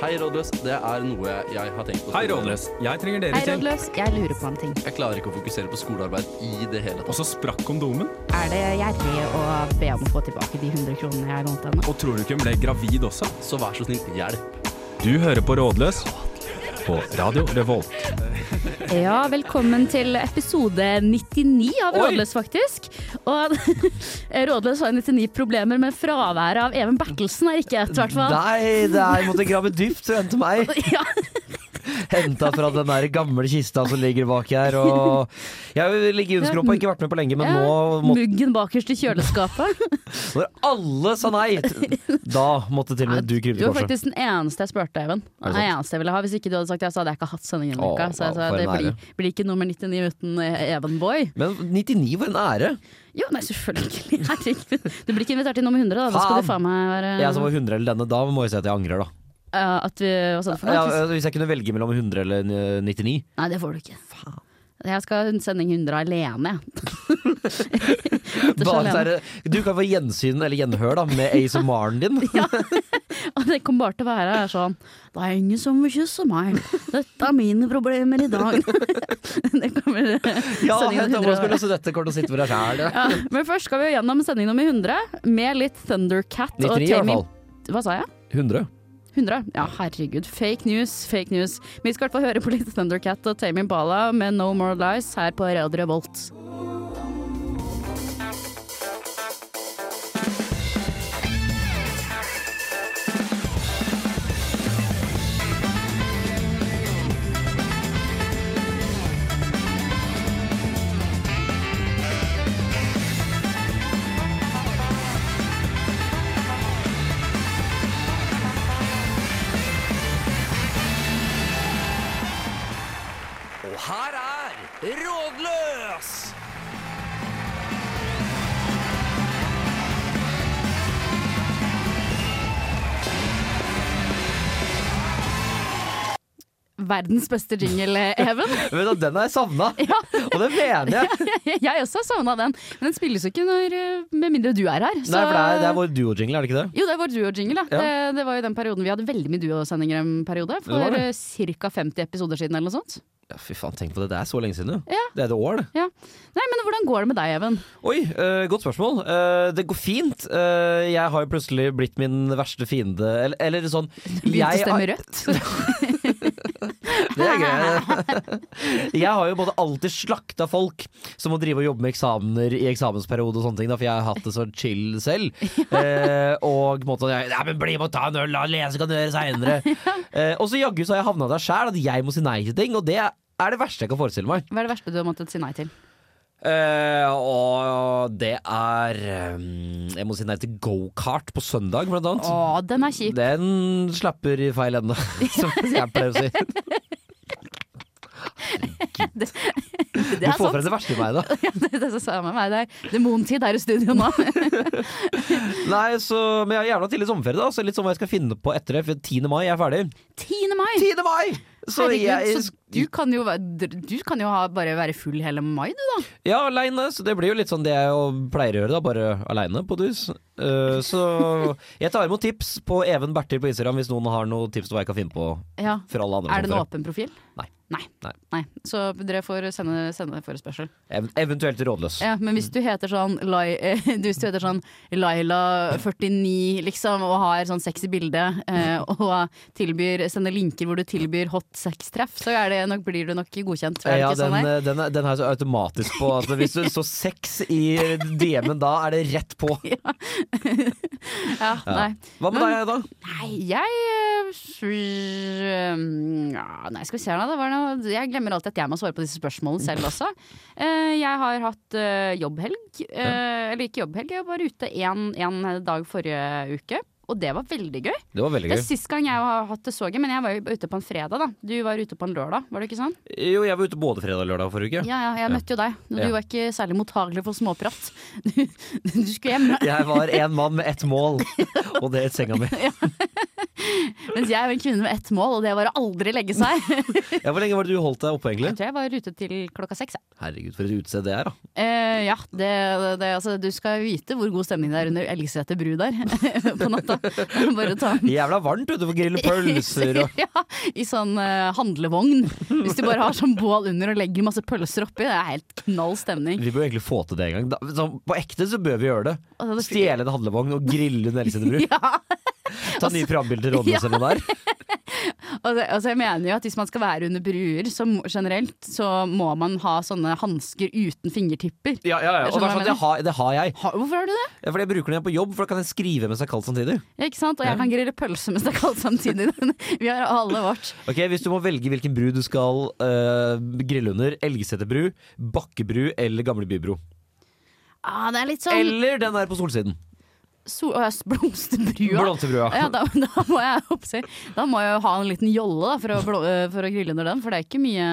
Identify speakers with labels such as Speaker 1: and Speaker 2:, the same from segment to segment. Speaker 1: Hei, rådløs. Det er noe jeg har tenkt på.
Speaker 2: Hei, Rådløs. Jeg trenger
Speaker 3: Hei,
Speaker 2: deres hjelp.
Speaker 3: rådløs. Jeg lurer på en ting.
Speaker 1: Jeg klarer ikke å fokusere på skolearbeid i det hele
Speaker 2: Og
Speaker 1: tatt.
Speaker 2: så sprakk kondomen.
Speaker 3: Er det gjerrig å be om å få tilbake de 100 kronene jeg lånte henne?
Speaker 2: Og tror du ikke hun ble gravid også?
Speaker 1: Så vær så snill, hjelp.
Speaker 2: Du hører på Rådløs på Radio Revolt.
Speaker 3: Ja, velkommen til episode 99 av
Speaker 2: Oi!
Speaker 3: Rådløs, faktisk. Og Rådløs har 99 problemer, men fraværet av Even Bertelsen er ikke et, i hvert fall.
Speaker 4: Nei, det er, jeg måtte grave dypt og hente meg.
Speaker 3: Ja.
Speaker 4: Henta fra den der gamle kista som ligger bak her. Og jeg ligger i underskropa, ikke vært med på lenge, men nå må,
Speaker 3: Muggen bakerst i kjøleskapet.
Speaker 4: når alle sa nei, da måtte til og med du krype
Speaker 3: Du
Speaker 4: til
Speaker 3: var
Speaker 4: korset.
Speaker 3: faktisk den eneste jeg spurte, Even.
Speaker 4: det
Speaker 3: Den
Speaker 4: sant?
Speaker 3: eneste jeg ville ha. Hvis ikke du hadde sagt det, så hadde jeg ikke hatt sendingen denne
Speaker 4: Å,
Speaker 3: uka. Så jeg sa
Speaker 4: for en
Speaker 3: det
Speaker 4: ære.
Speaker 3: blir, blir ikke nummer 99 uten E- Even Boy.
Speaker 4: Men 99 var en ære.
Speaker 3: Jo, nei, selvfølgelig. Herregud. Du blir ikke invitert til nummer 100, da. Da skal du faen meg være
Speaker 4: Jeg som var 100 eller denne, da må jeg si at jeg angrer, da.
Speaker 3: Ja, At vi Hva sa du for
Speaker 4: Ja,
Speaker 3: noe?
Speaker 4: hvis jeg kunne velge mellom 100 eller 99
Speaker 3: Nei, det får du ikke. Jeg skal ha en sending 100 alene, jeg. Helt
Speaker 4: bare så er
Speaker 3: alene.
Speaker 4: det, Du kan få gjensyn, eller gjenhør, da, med ASMR-en din.
Speaker 3: Og det kommer bare til å være sånn Det er ingen som vil kysse meg. Dette er mine problemer i dag. Det kommer eh,
Speaker 4: Ja,
Speaker 3: sendingen
Speaker 4: hent opp og
Speaker 3: 100.
Speaker 4: spille dette kortet og sitte for deg sjæl.
Speaker 3: Ja, men først skal vi jo gjennom sending nummer 100 med litt Thundercat
Speaker 4: 99 i
Speaker 3: og
Speaker 4: hvert
Speaker 3: Tame
Speaker 4: fall.
Speaker 3: Hva sa jeg?
Speaker 4: 100.
Speaker 3: 100? Ja, herregud. Fake news, fake news. Vi skal i hvert fall høre på litt Thundercat og Tame Impala med No More Lies her på Radio Revolt.
Speaker 4: Og her er Rådløs!
Speaker 3: Verdens beste jingle, Even.
Speaker 4: Vet du, Den har jeg savna, og det mener jeg.
Speaker 3: Jeg også savna den. Men den spilles jo ikke når, eh, med mindre du er her. så-
Speaker 4: Nei, for det er, det er vår duo-jingle, er det ikke det?
Speaker 3: Jo, det er vår duo-jingle. da. Eh,
Speaker 4: Ja.
Speaker 3: Det, det var jo den perioden vi hadde veldig mye duosendinger en periode. For
Speaker 4: var det.
Speaker 3: ca. 50 episoder siden eller noe sånt.
Speaker 4: Ja, fy faen, tenk på det. Det er så lenge siden, jo.
Speaker 3: Ja.
Speaker 4: Det er et år, det.
Speaker 3: Ja. Nei, men hvordan går det med deg, Even?
Speaker 4: Oi, eh, godt spørsmål. Eh, det går fint. Eh, jeg har jo plutselig blitt min verste fiende, eller, eller sånn
Speaker 3: Begynte å
Speaker 4: jeg har-
Speaker 3: stemme rødt?
Speaker 4: Det er gøy. Jeg har jo både alltid slakta folk som må drive og jobbe med eksamener i eksamensperiode og sånne ting, da, for jeg har hatt det så chill selv. Eh, og på en måte jeg, Nei, men bli med og ta en øl, da! Lese kan du gjøre seinere. Eh, og så jaggu så har jeg havna der sjæl, at jeg må si nei til ting, og det er det verste jeg kan forestille meg.
Speaker 3: Hva er det verste du har måttet si nei til?
Speaker 4: Eh, og det er eh, Jeg må si nei til gokart på søndag, blant annet.
Speaker 3: Å, den er kjip.
Speaker 4: Den slapper i feil ende, som jeg pleier å si.
Speaker 3: Det
Speaker 4: Du
Speaker 3: er sånn
Speaker 4: får
Speaker 3: sant.
Speaker 4: frem det verste i meg, da.
Speaker 3: Ja, det, det er det samme med meg. Det er demontid her i studio nå.
Speaker 4: Nei, så, men jeg har gjerne hatt tidlig sommerferie, da. Så litt sånn hva jeg skal finne på etter det. For 10. mai jeg er ferdig.
Speaker 3: 10. mai!
Speaker 4: 10. mai! Så
Speaker 3: Herregud,
Speaker 4: jeg
Speaker 3: så du kan jo, være- du kan jo ha, bare være full hele mai, du da.
Speaker 4: Ja, aleine. Så det blir jo litt sånn det jeg jo pleier å gjøre, da. Bare aleine på dus. Eh, så jeg tar imot tips på Even Bertil på Instagram hvis noen har noen tips til hva jeg kan finne på
Speaker 3: Ja.
Speaker 4: for alle andre.
Speaker 3: Er det en
Speaker 4: sommerferie.
Speaker 3: åpen profil?
Speaker 4: Nei.
Speaker 3: Nei.
Speaker 4: Nei.
Speaker 3: Nei. Så dere får sende, sende forespørsel.
Speaker 4: Ev eventuelt rådløs.
Speaker 3: Ja, men hvis du heter sånn, Lai, eh, hvis du heter sånn Laila49 liksom, og har sånn sexy bilde eh, og tilbyr, sender linker hvor du tilbyr hot sex-treff, så er det nok, blir du nok godkjent. Er det
Speaker 4: Ja,
Speaker 3: ikke sånn
Speaker 4: den,
Speaker 3: det er?
Speaker 4: eh, den, er- den er så automatisk på at hvis du så sex i DM-en, da er det rett på.
Speaker 3: Ja, nei.
Speaker 4: Hva med deg, da?
Speaker 3: Nei, jeg øh, s- øh, ja, Nei, skal vi se her da. Det var noe, jeg glemmer alltid at jeg må svare på disse spørsmålene selv også. Eh, jeg har hatt eh, jobbhelg. eh, Eller ikke jobbhelg, jeg var bare ute én dag forrige uke. Og det var veldig gøy.
Speaker 4: Det var veldig
Speaker 3: Det
Speaker 4: gøy.
Speaker 3: er sist gang jeg har hatt det så gøy, men jeg var jo ute på en fredag, da. Du var ute på en lørdag, var det ikke sånn?
Speaker 4: Jo, jeg var ute både fredag og lørdag forrige uke.
Speaker 3: Ja, ja, jeg møtte jo deg. Du
Speaker 4: Ja.
Speaker 3: var ikke særlig mottagelig for småprat. Du, du skulle hjem.
Speaker 4: Jeg var en mann med ett mål, og det er senga mi.
Speaker 3: Mens jeg er jo en kvinne med ett mål, og det var å aldri legge seg.
Speaker 4: Ja, Hvor lenge var det du holdt deg oppe, egentlig?
Speaker 3: Jeg tror jeg var ute til klokka seks. jeg.
Speaker 4: Herregud, for et utested det er, da.
Speaker 3: Eh, ja, det, det, altså, du skal vite hvor god stemning det er under Elgsete bru der på natta. Bare ta en
Speaker 4: Jævla varmt ute for grille pølser og
Speaker 3: ja, I sånn eh, handlevogn. Hvis du bare har sånn bål under og legger masse pølser oppi. Det er helt knall stemning.
Speaker 4: Vi bør egentlig få til det en gang. Da, sånn, på ekte så bør vi gjøre det.
Speaker 3: Og så hadde-
Speaker 4: Stjele en handlevogn og grille en Elseter bru.
Speaker 3: Ja,
Speaker 4: Ta nye programbilder til Rådnes eller noe der.
Speaker 3: altså, altså jeg mener jo at Hvis man skal være under bruer så, må- generelt, så må man ha sånne hansker uten fingertipper.
Speaker 4: Ja, ja, ja.
Speaker 3: Jeg skjønner
Speaker 4: Og det, er
Speaker 3: hva
Speaker 4: sånn,
Speaker 3: jeg
Speaker 4: det, har, det har jeg.
Speaker 3: Har, hvorfor har du det?
Speaker 4: Ja, Fordi jeg bruker den på jobb, for da kan jeg skrive mens det er kaldt samtidig.
Speaker 3: Ja, Ikke sant? Og jeg kan grille pølse mens det er kaldt samtidig. Vi har alle vårt.
Speaker 4: Ok, Hvis du må velge hvilken bru du skal eh, grille under, Elgeseterbru, Bakkebru eller Gamle bybro.
Speaker 3: Ah, det er litt sånn
Speaker 4: Eller den der på solsiden.
Speaker 3: so Å, jeg s- blomsterbrua.
Speaker 4: Blomsterbrua.
Speaker 3: Ja, da, da må jeg oppsi. Da må jeg jo ha en liten jolle da, for, å, blå- eh, for å grille under den, for det er ikke mye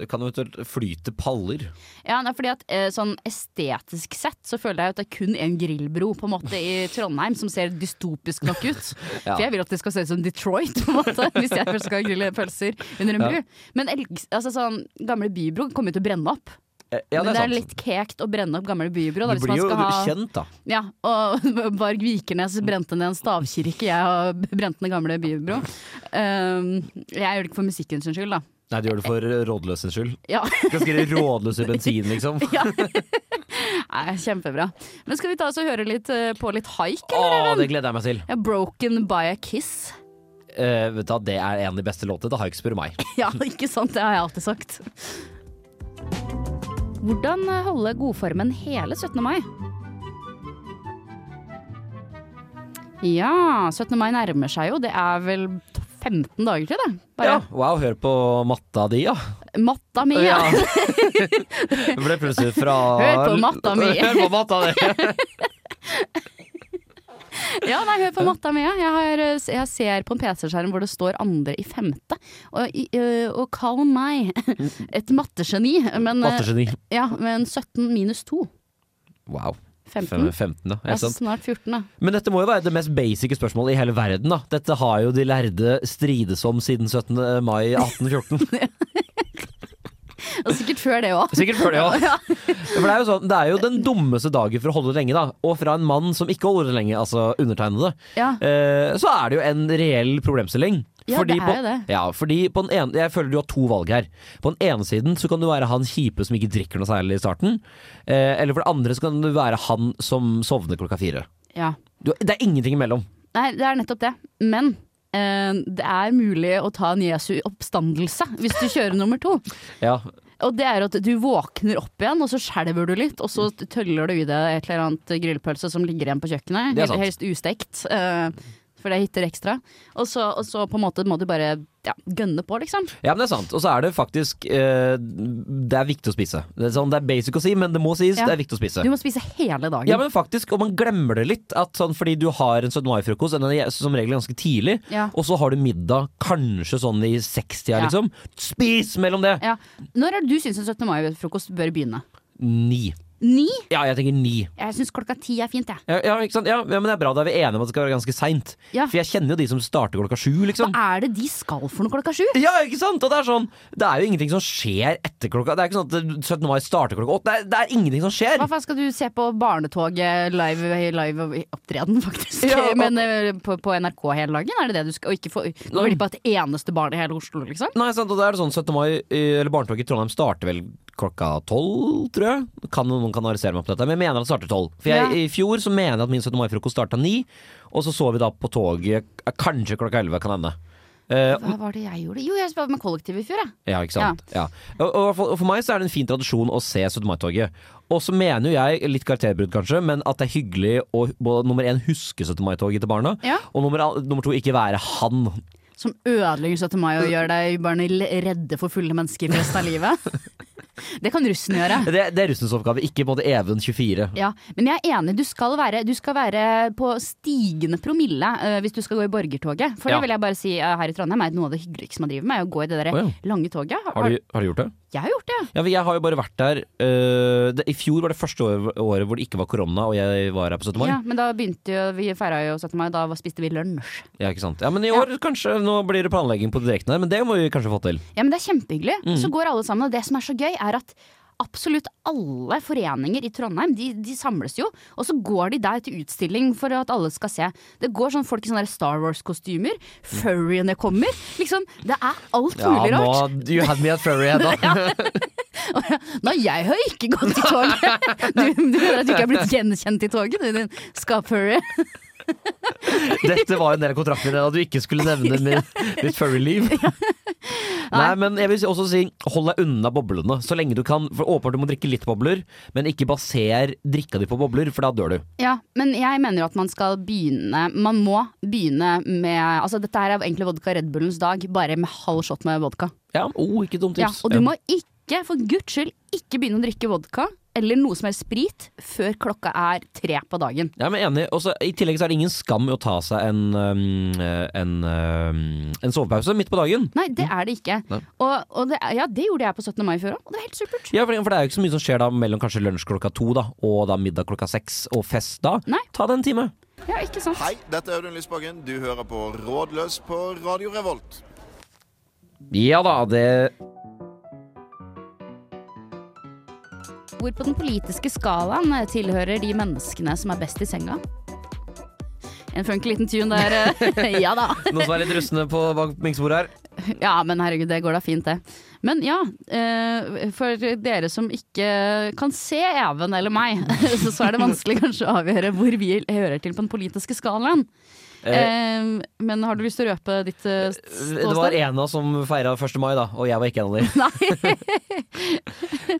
Speaker 4: Det kan eventuelt flyte paller.
Speaker 3: Ja, nei, fordi at eh, sånn estetisk sett så føler jeg at det er kun en grillbro på en måte i Trondheim som ser dystopisk nok ut.
Speaker 4: Ja.
Speaker 3: For jeg vil at det skal se ut som Detroit, på en måte, hvis jeg først skal grille pølser under en
Speaker 4: Ja.
Speaker 3: bru. Men elg, altså, sånn, gamle bybro kommer jo til å brenne opp.
Speaker 4: Eh, Ja,
Speaker 3: Men
Speaker 4: det er sant.
Speaker 3: litt kekt å brenne opp gamle bybro. Da,
Speaker 4: du
Speaker 3: hvis
Speaker 4: blir
Speaker 3: man
Speaker 4: jo
Speaker 3: skal ha,
Speaker 4: kjent, da.
Speaker 3: Ja, og Varg Vikernes brente ned en stavkirke, jeg har brent ned gamle bybro. Um, jeg gjør det ikke for musikken sin skyld, da.
Speaker 4: Nei, du gjør det for eh, rådløs sin skyld.
Speaker 3: Ja,
Speaker 4: Skal skrive rådløs i bensin, liksom.
Speaker 3: ja. Nei, kjempebra. Men skal vi ta oss og høre litt eh, på litt haik,
Speaker 4: Å,
Speaker 3: eller?
Speaker 4: det gleder jeg meg til.
Speaker 3: Ja, 'Broken by a Kiss'.
Speaker 4: Eh, vet du, hva, Det er en av de beste låtene. Det har ikke spurt meg.
Speaker 3: Ja, ikke sant? Det har jeg alltid sagt. Hvordan holde godformen hele 17. mai? Ja, 17. mai nærmer seg jo. Det er vel 15 dager til, det. Bare
Speaker 4: Ja, wow, hør på matta di, ja.
Speaker 3: matta mi, ja.
Speaker 4: Det ble plutselig fra
Speaker 3: Hør på matta mi.
Speaker 4: Hør på matta di.
Speaker 3: ja, nei, hør på matta mi. ja. Jeg, har, eh, s- jeg ser på en PC-skjerm hvor det står andre i femte. Og, i- eh, og kall meg et mattegeni, men, eh,
Speaker 4: Mattegeni.
Speaker 3: ja, men 17 minus 2.
Speaker 4: Wow.
Speaker 3: 15.
Speaker 4: 15, ja.
Speaker 3: Det
Speaker 4: ja
Speaker 3: er
Speaker 4: sant.
Speaker 3: snart 14, da.
Speaker 4: Men dette må jo være det mest basice spørsmålet i hele verden. da Dette har jo de lærde strides om siden 17. mai 1814.
Speaker 3: Og sikkert før det òg.
Speaker 4: Sikkert før det òg. For det er, jo sånn, det er jo den dummeste dagen for å holde det lenge, da. Og fra en mann som ikke holder det lenge, altså undertegnede,
Speaker 3: Ja.
Speaker 4: eh, så er det jo en reell problemstilling.
Speaker 3: Ja, det er
Speaker 4: på,
Speaker 3: jo det.
Speaker 4: Ja, fordi på den ene, jeg føler du har to valg her. På den ene siden så kan du være han kjipe som ikke drikker noe særlig i starten. Eh, eller for det andre så kan du være han som sovner klokka fire.
Speaker 3: Ja.
Speaker 4: Du, det er ingenting imellom.
Speaker 3: Nei, det er nettopp det. Men eh, det er mulig å ta en Jesu oppstandelse hvis du kjører nummer to.
Speaker 4: Ja,
Speaker 3: Og det er at du våkner opp igjen, og så skjelver du litt, og så
Speaker 4: Mm.
Speaker 3: tøller du i deg et eller annet grillpølse som ligger igjen på kjøkkenet.
Speaker 4: Det er sant.
Speaker 3: Helst ustekt, eh, for det hitter ekstra. Og så, og så på en måte må du bare ja, gønne på, liksom.
Speaker 4: Ja, men det er sant. Og så er det faktisk eh, Det er viktig å spise. Det er, sånn, det er basic å si, men det må sies.
Speaker 3: Ja.
Speaker 4: Det er viktig å spise.
Speaker 3: Du må spise hele dagen.
Speaker 4: Ja, men faktisk, og man glemmer det litt. At sånn, fordi du har en 17. mai-frokost, den er som regel ganske tidlig,
Speaker 3: Ja.
Speaker 4: og så har du middag kanskje sånn i 60-tida,
Speaker 3: Ja.
Speaker 4: liksom. Spis mellom det!
Speaker 3: Ja. Når er det du syns en 17. mai-frokost bør begynne?
Speaker 4: Ni.
Speaker 3: Ni?
Speaker 4: Ja, jeg tenker ni.
Speaker 3: Jeg syns klokka ti er fint, jeg.
Speaker 4: Ja, ja, ikke sant? Ja, ja, men det er bra da er vi enige om at det skal være ganske seint.
Speaker 3: Ja.
Speaker 4: For jeg kjenner jo de som starter klokka sju,
Speaker 3: Hva
Speaker 4: liksom.
Speaker 3: er det de skal for noe klokka sju?
Speaker 4: Ja, ikke sant? Og det er sånn Det er jo ingenting som skjer etter klokka Det er ikke sånn at 17. mai starter klokka åtte. Det, er- det er ingenting som skjer.
Speaker 3: Hva faen skal du se på Barnetoget live, live opptreden, faktisk?
Speaker 4: Ja, og-
Speaker 3: Men eh, på, på NRK hele dagen, er det det du skal? Og ikke få gå glipp av et eneste barn i hele Oslo, liksom?
Speaker 4: Nei, sant, og da er det sånn 17. mai, eh, eller barnetoget i Trondheim starter vel klokka tolv, tror jeg. Kan noen kan arrestere meg på dette, men jeg mener at det starter tolv. For jeg,
Speaker 3: Ja.
Speaker 4: i fjor så mener jeg at min 17. mai-frokost starta ni, og så så vi da på toget eh, kanskje klokka elleve kan hende. Eh,
Speaker 3: Hva var det jeg gjorde? Jo, jeg var med kollektivet i fjor, jeg.
Speaker 4: ja, ikke sant. Ja. Og, og for- og for meg så er det en fin tradisjon å se 17. mai-toget. Og så mener jo jeg, litt karakterbrudd kanskje, men at det er hyggelig å både, nummer én huske 17. mai-toget til barna,
Speaker 3: Ja.
Speaker 4: og nummer, al- nummer to ikke være han.
Speaker 3: Som ødelegger 17. mai
Speaker 4: Øh.
Speaker 3: og gjør deg barn redde for fulle mennesker for resten av livet. Det kan russen gjøre.
Speaker 4: Det, det er russens oppgave, ikke både Even 24.
Speaker 3: Ja, Men jeg er enig, du skal være, du skal være på stigende promille eh, hvis du skal gå i borgertoget. For øh,
Speaker 4: Ja.
Speaker 3: det vil jeg bare si eh, her i Trondheim er noe av det hyggeligste man driver med, er å gå i det der
Speaker 4: Å ja.
Speaker 3: lange toget. Har-
Speaker 4: Har du, har du gjort det?
Speaker 3: Jeg har gjort det.
Speaker 4: Ja, for jeg har jo bare vært der øh, det, I fjor var det første året, året hvor det ikke var korona, og jeg var her på 17. mai.
Speaker 3: Ja, men da begynte jo, vi feira jo 17. mai, da spiste vi lunsj.
Speaker 4: Ja, ikke sant? Ja, men i år kanskje Nå blir det planlegging på direkten her, men det må vi kanskje få til.
Speaker 3: Ja, men det er kjempehyggelig. Så går alle sammen, og det som er så gøy, er at absolutt alle foreninger i Trondheim, de, de samles jo, og så går de der til utstilling for at alle skal se. Det går sånn folk i sånne der Star Wars-kostymer, furryene kommer, liksom. Det er alt mulig
Speaker 4: nå,
Speaker 3: rart.
Speaker 4: You had me at furry, Hedda.
Speaker 3: Nei, jeg har ikke gått i toget! Du, du hører at du ikke er blitt gjenkjent i toget, du din skapfurry.
Speaker 4: Dette var jo en del av kontrakten din, at du ikke skulle nevne mitt, mitt furry-liv. Nei, men jeg vil si- også si hold deg unna boblene så lenge du kan. For Åpenbart du må drikke litt bobler, men ikke baser drikka di på bobler, for da dør du.
Speaker 3: Ja, men jeg mener jo at man skal begynne Man må begynne med Altså dette her er egentlig vodka Red Bullens dag, bare med halv shot med vodka.
Speaker 4: Ja, oh, ikke dumt
Speaker 3: Ja,
Speaker 4: tips.
Speaker 3: og du må ikke, for guds skyld, ikke begynne å drikke vodka eller noe som helst sprit før klokka er tre på dagen.
Speaker 4: Ja, men enig. Også, I tillegg så er det ingen skam i å ta seg en, um, en, um, en sovepause midt på dagen.
Speaker 3: Mm. Nei, det er det ikke.
Speaker 4: Nei.
Speaker 3: Og, og det, er- ja, det gjorde jeg på 17. mai i fjor òg, og det var helt supert.
Speaker 4: Ja, for, for det er jo ikke så mye som skjer da mellom kanskje lunsj klokka to da, og da middag klokka seks og fest da.
Speaker 3: Nei.
Speaker 4: Ta det en time.
Speaker 3: Ja, ikke sant?
Speaker 5: Hei, dette er Audun Lysbakken. Du hører på Rådløs på Radio Revolt.
Speaker 4: Ja da, det
Speaker 3: Hvor på den politiske skalaen eh, tilhører de menneskene som er best i senga? En funky liten tune der. eh, ja da.
Speaker 4: Noen som er litt rustne på bak minksbordet her.
Speaker 3: Ja, men herregud, det går da fint, det. Men ja, eh, for dere som ikke kan se Even eller meg, så så er det vanskelig kanskje å avgjøre hvor vi hører til på den politiske skalaen. Eh, men har du lyst til å røpe ditt eh,
Speaker 4: Det var
Speaker 3: ståsted?
Speaker 4: en av oss som feira 1. mai, da, og jeg var ikke en av dem.
Speaker 3: Nei.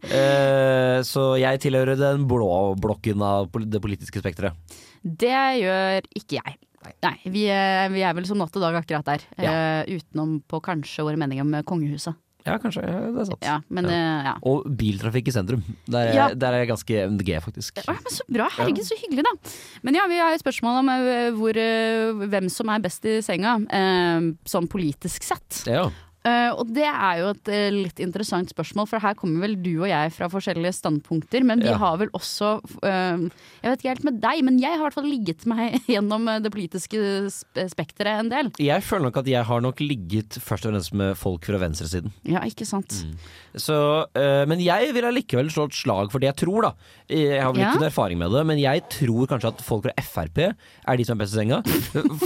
Speaker 4: Eh, så jeg tilhører den blå blokken av pol- det politiske spekteret.
Speaker 3: Det gjør ikke jeg. Nei, vi, eh, vi er vel som natt og dag akkurat der.
Speaker 4: Ja.
Speaker 3: eh, utenom på kanskje våre meninger med kongehuset.
Speaker 4: Ja, kanskje. det er sant.
Speaker 3: Ja, men eh, ja.
Speaker 4: Og biltrafikk i sentrum. Der er,
Speaker 3: Ja.
Speaker 4: der er jeg ganske MDG, faktisk.
Speaker 3: Å, men så bra, herregud så hyggelig da Men ja, vi har et spørsmål om eh, hvor, eh, hvem som er best i senga eh, Sånn politisk sett
Speaker 4: Ja.
Speaker 3: Eh, Og det er jo et eh, litt interessant spørsmål For her kommer vel du og jeg fra forskjellige standpunkter Men vi
Speaker 4: Ja.
Speaker 3: har vel også eh, Jeg vet ikke helt med deg Men jeg har i hvert fall ligget meg gjennom eh, det politiske sp- spekteret en del
Speaker 4: Jeg føler nok at jeg har nok ligget først og fremst med folk fra venstresiden.
Speaker 3: Ja, ikke sant?
Speaker 4: Mm. Så, eh, men jeg vil allikevel slå et slag for det jeg tror, da. Jeg har vel
Speaker 3: Ja.
Speaker 4: ikke noen erfaring med det, men jeg tror kanskje at folk fra Frp er de som er best i senga.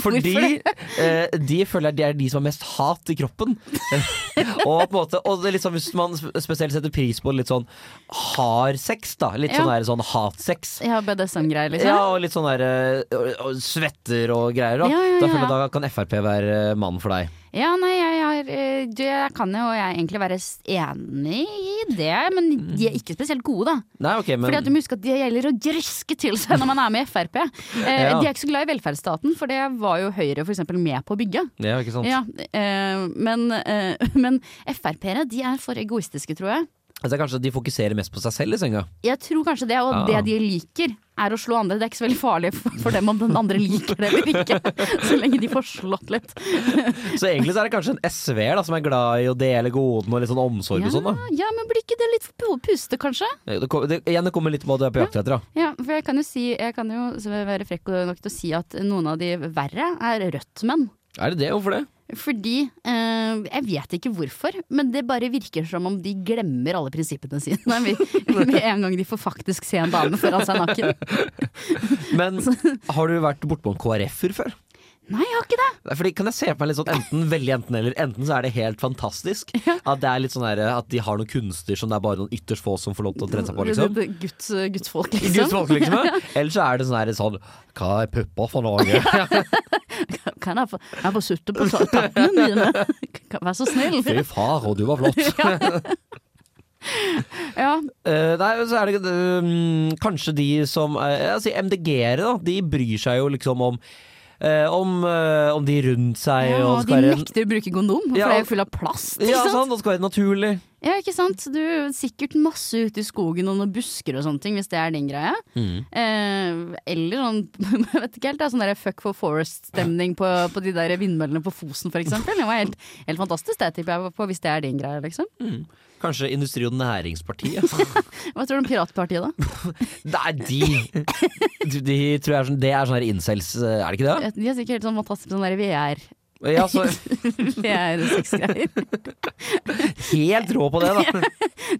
Speaker 4: Fordi
Speaker 3: Hvorfor
Speaker 4: eh, de føler at de er de som har mest hat i kroppen. og på en måte Og det er litt sånn hvis man sp- spesielt setter pris på litt sånn hard sex, da. Litt
Speaker 3: Ja.
Speaker 4: sånn, der, sånn hatsex.
Speaker 3: Jeg har BDSM-greier liksom
Speaker 4: Ja, og litt sånn der eh, og- og svetter og greier. Da,
Speaker 3: Ja, ja,
Speaker 4: da
Speaker 3: ja,
Speaker 4: føler jeg
Speaker 3: ja.
Speaker 4: da kan Frp være eh, mannen for deg.
Speaker 3: Ja, nei, jeg, har, eh, det kan jo jeg egentlig være s- enig i det, men de er ikke spesielt gode, da.
Speaker 4: Nei, ok, men
Speaker 3: Fordi at du må huske at det gjelder å griske til seg når man er med i Frp. Eh,
Speaker 4: Ja.
Speaker 3: De er ikke så glad i velferdsstaten, for det var jo Høyre for eksempel med på å bygge.
Speaker 4: Ja, ikke sant?
Speaker 3: Ja, eh, men eh, men Frp-ere de er for egoistiske, tror jeg.
Speaker 4: Altså, kanskje de fokuserer mest på seg selv i senga.
Speaker 3: Jeg tror kanskje det, og
Speaker 4: Ja.
Speaker 3: det de liker er å slå andre. Det er ikke så veldig farlig for for dem om den andre liker det eller ikke, så lenge de får slått litt.
Speaker 4: Så egentlig så er det kanskje en SV-er da, som er glad i å dele godene og litt sånn omsorg og sånn. da Eh,
Speaker 3: ja, men blir ikke det litt for puste, kanskje?
Speaker 4: det, kom- det, Igjen, det kommer litt på hva du er på jakt etter. da
Speaker 3: Ja, for jeg kan jo, si, jeg kan jo være frekk nok til å si at noen av de verre er rødt-menn.
Speaker 4: Er det det? Hvorfor det?
Speaker 3: Fordi eh, Jeg vet ikke hvorfor, men det bare virker som om de glemmer alle prinsippene sine med, med en gang de får faktisk se en dame foran seg naken.
Speaker 4: Men har du vært bortpå en KrF-er før?
Speaker 3: Nei, jeg har ikke det!
Speaker 4: Nei, Fordi Kan jeg se på meg litt sånn enten veldig enten eller? Enten så er det helt fantastisk at det er litt sånn der, at de har noen kunster som det er bare noen ytterst få som får lov til å trene seg på.
Speaker 3: Det-
Speaker 4: liksom
Speaker 3: det- Guds, gudsfolk,
Speaker 4: Guds
Speaker 3: liksom.
Speaker 4: folk, liksom. ja. Eller så er det sånn, her, sånn Hva er pupper for Norge?
Speaker 3: Kan jeg få, jeg få sutte på ta- tappene mine? Kan- Vær så snill.
Speaker 4: Fy far, og du var flott.
Speaker 3: Ja,
Speaker 4: Eh, nei, så er det eh, kanskje de som uh, altså MDG-ere, da. De bryr seg jo liksom om eh, om, eh, om de rundt seg.
Speaker 3: ja,
Speaker 4: og
Speaker 3: de
Speaker 4: skal være-
Speaker 3: nekter å bruke kondom, for
Speaker 4: Ja,
Speaker 3: det er
Speaker 4: og-
Speaker 3: jo full av plast. Ikke
Speaker 4: Ja,
Speaker 3: sant?
Speaker 4: sant? Det skal være naturlig.
Speaker 3: Ja, ikke sant? Du er sikkert masse ute i skogen og noen busker og sånne ting, hvis det er din greie. Eh, eller sånn, jeg vet ikke helt, da, sånn der fuck for forest-stemning på, på de der vindmøllene på Fosen for eksempel. Det var helt, helt fantastisk det tipper jeg var på, hvis det er din greie, liksom.
Speaker 4: Kanskje Industri- og Næringspartiet?
Speaker 3: Hva tror du om Piratpartiet, da?
Speaker 4: Nei, de, de, de tror jeg er sånn, Det er sånne her incels, eh, er det ikke det?
Speaker 3: De har sikkert helt sånn fantastisk sånn der VR.
Speaker 4: Ja, så
Speaker 3: VR-sexgreier.
Speaker 4: Helt rå på det, da.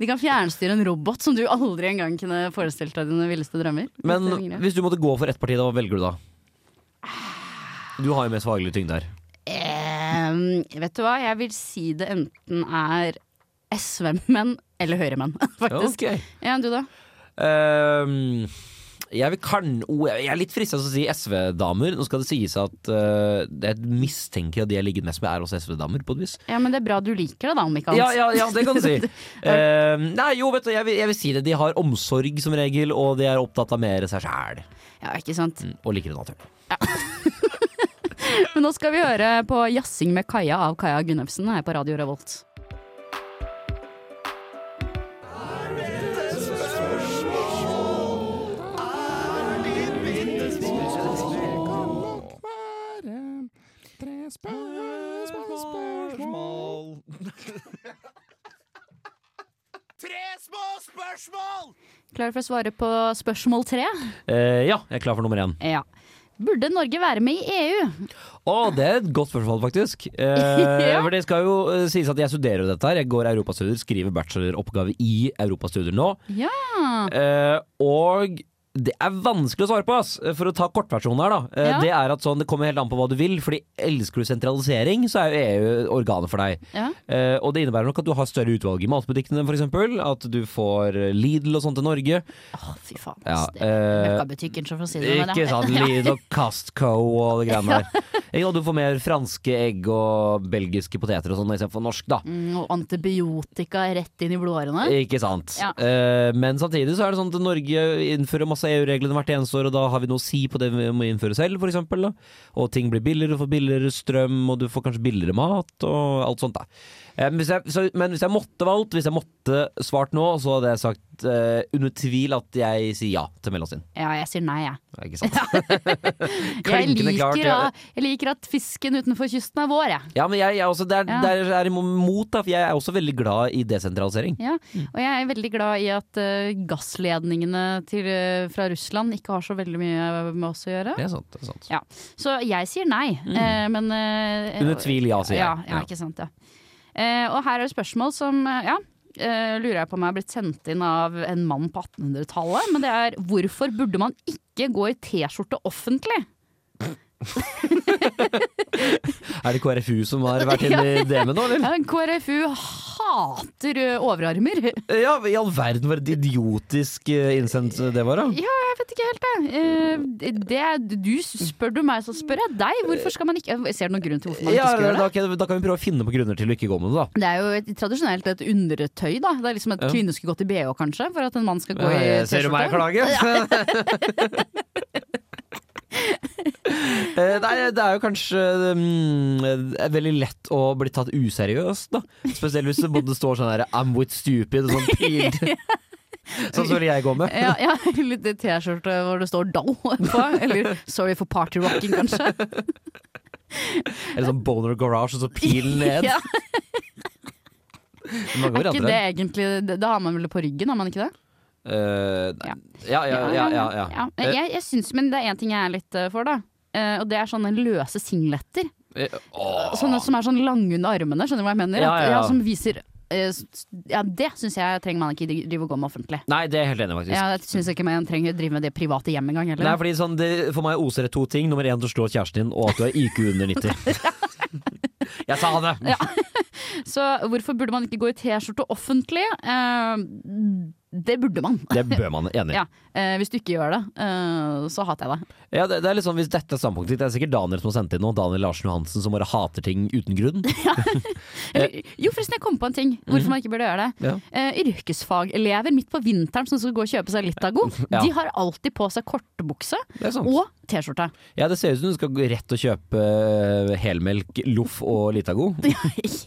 Speaker 3: De kan fjernstyre en robot som du aldri engang kunne forestilt deg dine villeste drømmer.
Speaker 4: Men
Speaker 3: Hvis det er din greie.
Speaker 4: hvis du måtte gå for ett parti, da, hva velger du da? Du har jo mest faglig tyngde her.
Speaker 3: Ehm, vet du hva, jeg vil si det enten er SV-menn eller Høyre-menn, faktisk.
Speaker 4: Ok.
Speaker 3: Ja, du da?
Speaker 4: Ehm, jeg, vil kan, oh, jeg er litt frista til å si SV-damer. Nå skal det sies at eh, jeg mistenker at de jeg ligger mest med, er også SV-damer, på et vis.
Speaker 3: Ja, men det er bra du liker det, da, om ikke
Speaker 4: Ja,
Speaker 3: annet.
Speaker 4: ja, ja, det kan du si. Ehm, nei, jo, vet du, jeg vil, jeg vil si det. De har omsorg som regel, og de er opptatt av mer seg sjæl.
Speaker 3: Ja, ikke sant.
Speaker 4: Og liker det naturlig.
Speaker 3: Men nå skal vi høre på 'Jassing med Kaja' av Kaja Gunnøfsen her på Radio Revolt. Klar for å svare på spørsmål tre?
Speaker 4: Eh, ja, jeg er klar for nummer én.
Speaker 3: Ja. Burde Norge være med i E EU?
Speaker 4: Å, det er et godt spørsmål, faktisk. Eh,
Speaker 3: Ja.
Speaker 4: For det skal jo eh, sies at jeg studerer jo dette her. Jeg går europastudier, skriver bacheloroppgave i europastudier nå.
Speaker 3: Ja.
Speaker 4: Eh, og det er vanskelig å svare på, ass. For å ta kortversjonen her, da. Eh,
Speaker 3: Ja.
Speaker 4: Det er at sånn, det kommer helt an på hva du vil. Fordi elsker du sentralisering, så er jo EU organet for deg.
Speaker 3: ja.
Speaker 4: Eh, og det innebærer nok at du har større utvalg i matbutikkene, f.eks. At du får Lidl og sånt til Norge.
Speaker 3: Å, fy faen.
Speaker 4: Ja,
Speaker 3: ass, det
Speaker 4: eh,
Speaker 3: Møkkabutikken, så for å si det
Speaker 4: Ikke sant, Lidl og Costco og det greiene der. Ikke sant, du får mer franske egg og belgiske poteter og sånn istedenfor norsk, da.
Speaker 3: Mm, og antibiotika rett inn i blodårene.
Speaker 4: Ikke sant.
Speaker 3: Ja.
Speaker 4: Eh, men samtidig så er det sånn at Norge innfører masse EU-regler hvert eneste år, og da har vi noe å si på det vi må innføre selv, for eksempel. Da. Og ting blir billigere, du får billigere strøm, og du får kanskje billigere mat, og alt sånt. da. Eh, men, hvis jeg, så, men hvis jeg måtte valgt, hvis jeg måtte svart nå, så hadde jeg sagt eh, under tvil at jeg sier ja til Mellomstien.
Speaker 3: Ja, jeg sier nei, jeg.
Speaker 4: Ja, Ikke sant?
Speaker 3: Jeg
Speaker 4: Klinkende klart,
Speaker 3: liker,
Speaker 4: ja.
Speaker 3: at- jeg liker at fisken utenfor kysten er vår, jeg.
Speaker 4: Ja, men jeg, jeg er også, det er,
Speaker 3: Ja.
Speaker 4: det er- jeg er imot, da, for jeg er også veldig glad i desentralisering.
Speaker 3: Ja, og jeg er veldig glad i at eh, gassledningene til, eh, fra Russland ikke har så veldig mye eh, med oss å gjøre.
Speaker 4: Det er sant. det er sant.
Speaker 3: Ja. Så jeg sier nei, eh, men eh,
Speaker 4: Mm. Under tvil, ja, sier jeg.
Speaker 3: ja, ja, ikke sant, ja. Eh, og her er det spørsmål som eh, ja, eh, lurer jeg på om er blitt sendt inn av en mann på 1800-tallet. Men det er hvorfor burde man ikke gå i T-skjorte offentlig?
Speaker 4: Er det KrFU som har vært inne i det med nå, eller?
Speaker 3: Ja, KrFU hater eh, overarmer.
Speaker 4: Ja, i all verden for et idiotisk eh, innsendt det var, da.
Speaker 3: Ja, jeg vet ikke helt det. Eh, det er- du spør du meg, så spør jeg deg. Hvorfor skal man ikke Ser du noen grunn til hvorfor man
Speaker 4: Ja,
Speaker 3: ikke skal
Speaker 4: da,
Speaker 3: gjøre det?
Speaker 4: kan- da kan vi prøve å finne på grunner til å ikke gå med det, da.
Speaker 3: Det er jo et, tradisjonelt et undertøy, da. Det er liksom at
Speaker 4: Ja.
Speaker 3: kvinner skulle gått i BH, kanskje, for at en mann skal gå
Speaker 4: Ja,
Speaker 3: i
Speaker 4: jeg- Eh, ser du meg
Speaker 3: T-skjorte.
Speaker 4: klage? Eh, Nei, det er jo kanskje mm, det er veldig lett å bli tatt useriøst, da. Spesielt hvis det både står sånn her 'I'm with stupid' og sånn pil. Sånn som jeg går med.
Speaker 3: Ja, ja, litt T-skjorte hvor det står 'doll' på. Eller 'sorry for party rocking', kanskje.
Speaker 4: Eller sånn Boner Garage, og så pilen ned.
Speaker 3: Ja,
Speaker 4: Mange
Speaker 3: er ikke
Speaker 4: varianter her.
Speaker 3: det egentlig det, det har man vel på ryggen, har man ikke det?
Speaker 4: Eh, nei. ja, ja, ja. ja, ja.
Speaker 3: Ja, Jeg, jeg syns, men det er én ting jeg er litt eh, for, da. Eh, og det er sånne løse singletter.
Speaker 4: Eh, eh, åh.
Speaker 3: Sånne som er sånn lange under armene, skjønner du hva jeg mener?
Speaker 4: Ja,
Speaker 3: At-
Speaker 4: ja, ja.
Speaker 3: som viser eh, s- Ja, det syns jeg trenger man ikke drive og gå med offentlig.
Speaker 4: Nei, det er jeg helt enig i, faktisk.
Speaker 3: Ja, jeg syns ikke man trenger å drive med det private hjemme engang heller.
Speaker 4: Nei, fordi sånn, det, For meg oser det to ting. Nummer én, du slår kjæresten din, og at du har IQ under 90. Jeg sa det!
Speaker 3: Så hvorfor burde man ikke gå i T-skjorte offentlig? Eh, det burde man.
Speaker 4: Det bør man enig i.
Speaker 3: Ja. Eh, Eh, hvis du ikke gjør det, eh, så hater jeg deg.
Speaker 4: Ja, det, det er litt sånn, Hvis dette er standpunktet ditt, det er sikkert Daniel som har sendt inn noe. Daniel Larsen Johansen som bare hater ting uten grunn.
Speaker 3: Eller, jo, forresten, jeg kom på en ting. Hvorfor man ikke burde gjøre det.
Speaker 4: Eh. Mhm. Ja.
Speaker 3: Eh, yrkesfagelever midt på vinteren som skal gå og kjøpe seg Litago,
Speaker 4: Ja.
Speaker 3: de har alltid på seg kortbukse
Speaker 4: Det er sant.
Speaker 3: og T-skjorte.
Speaker 4: Ja, Det ser ut som du skal gå rett og kjøpe eh, helmelk, loff og Litago.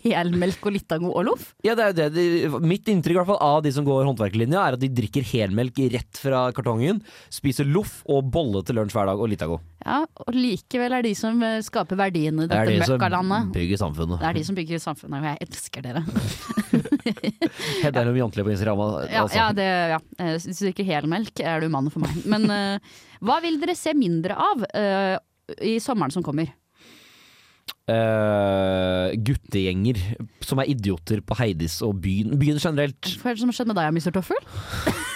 Speaker 3: Helmelk og Litago og loff.
Speaker 4: Ja, det er jo det. de- Mitt inntrykk i hvert fall av de som går håndverkerlinja, er at de drikker helmelk rett fra kartongen, spiser loff og bolle til lunsj hver dag og Litago.
Speaker 3: Ja, og likevel er de som eh, skaper verdiene i
Speaker 4: Det er
Speaker 3: dette
Speaker 4: de som
Speaker 3: møkkalandet.
Speaker 4: bygger samfunnet.
Speaker 3: Det er de som bygger samfunnet, og jeg elsker dere.
Speaker 4: Hedda Lom Jantli på Instagram. al-
Speaker 3: Ja,
Speaker 4: Altså.
Speaker 3: ja, det, ja. Eh, Hvis du drikker helmelk, er du mannen for meg. Men eh, hva vil dere se mindre av eh, i sommeren som kommer?
Speaker 4: Eh, guttegjenger som er idioter på Heidis og byen, byen generelt.
Speaker 3: Hva er det som har skjedd med deg, Mr. Toffel?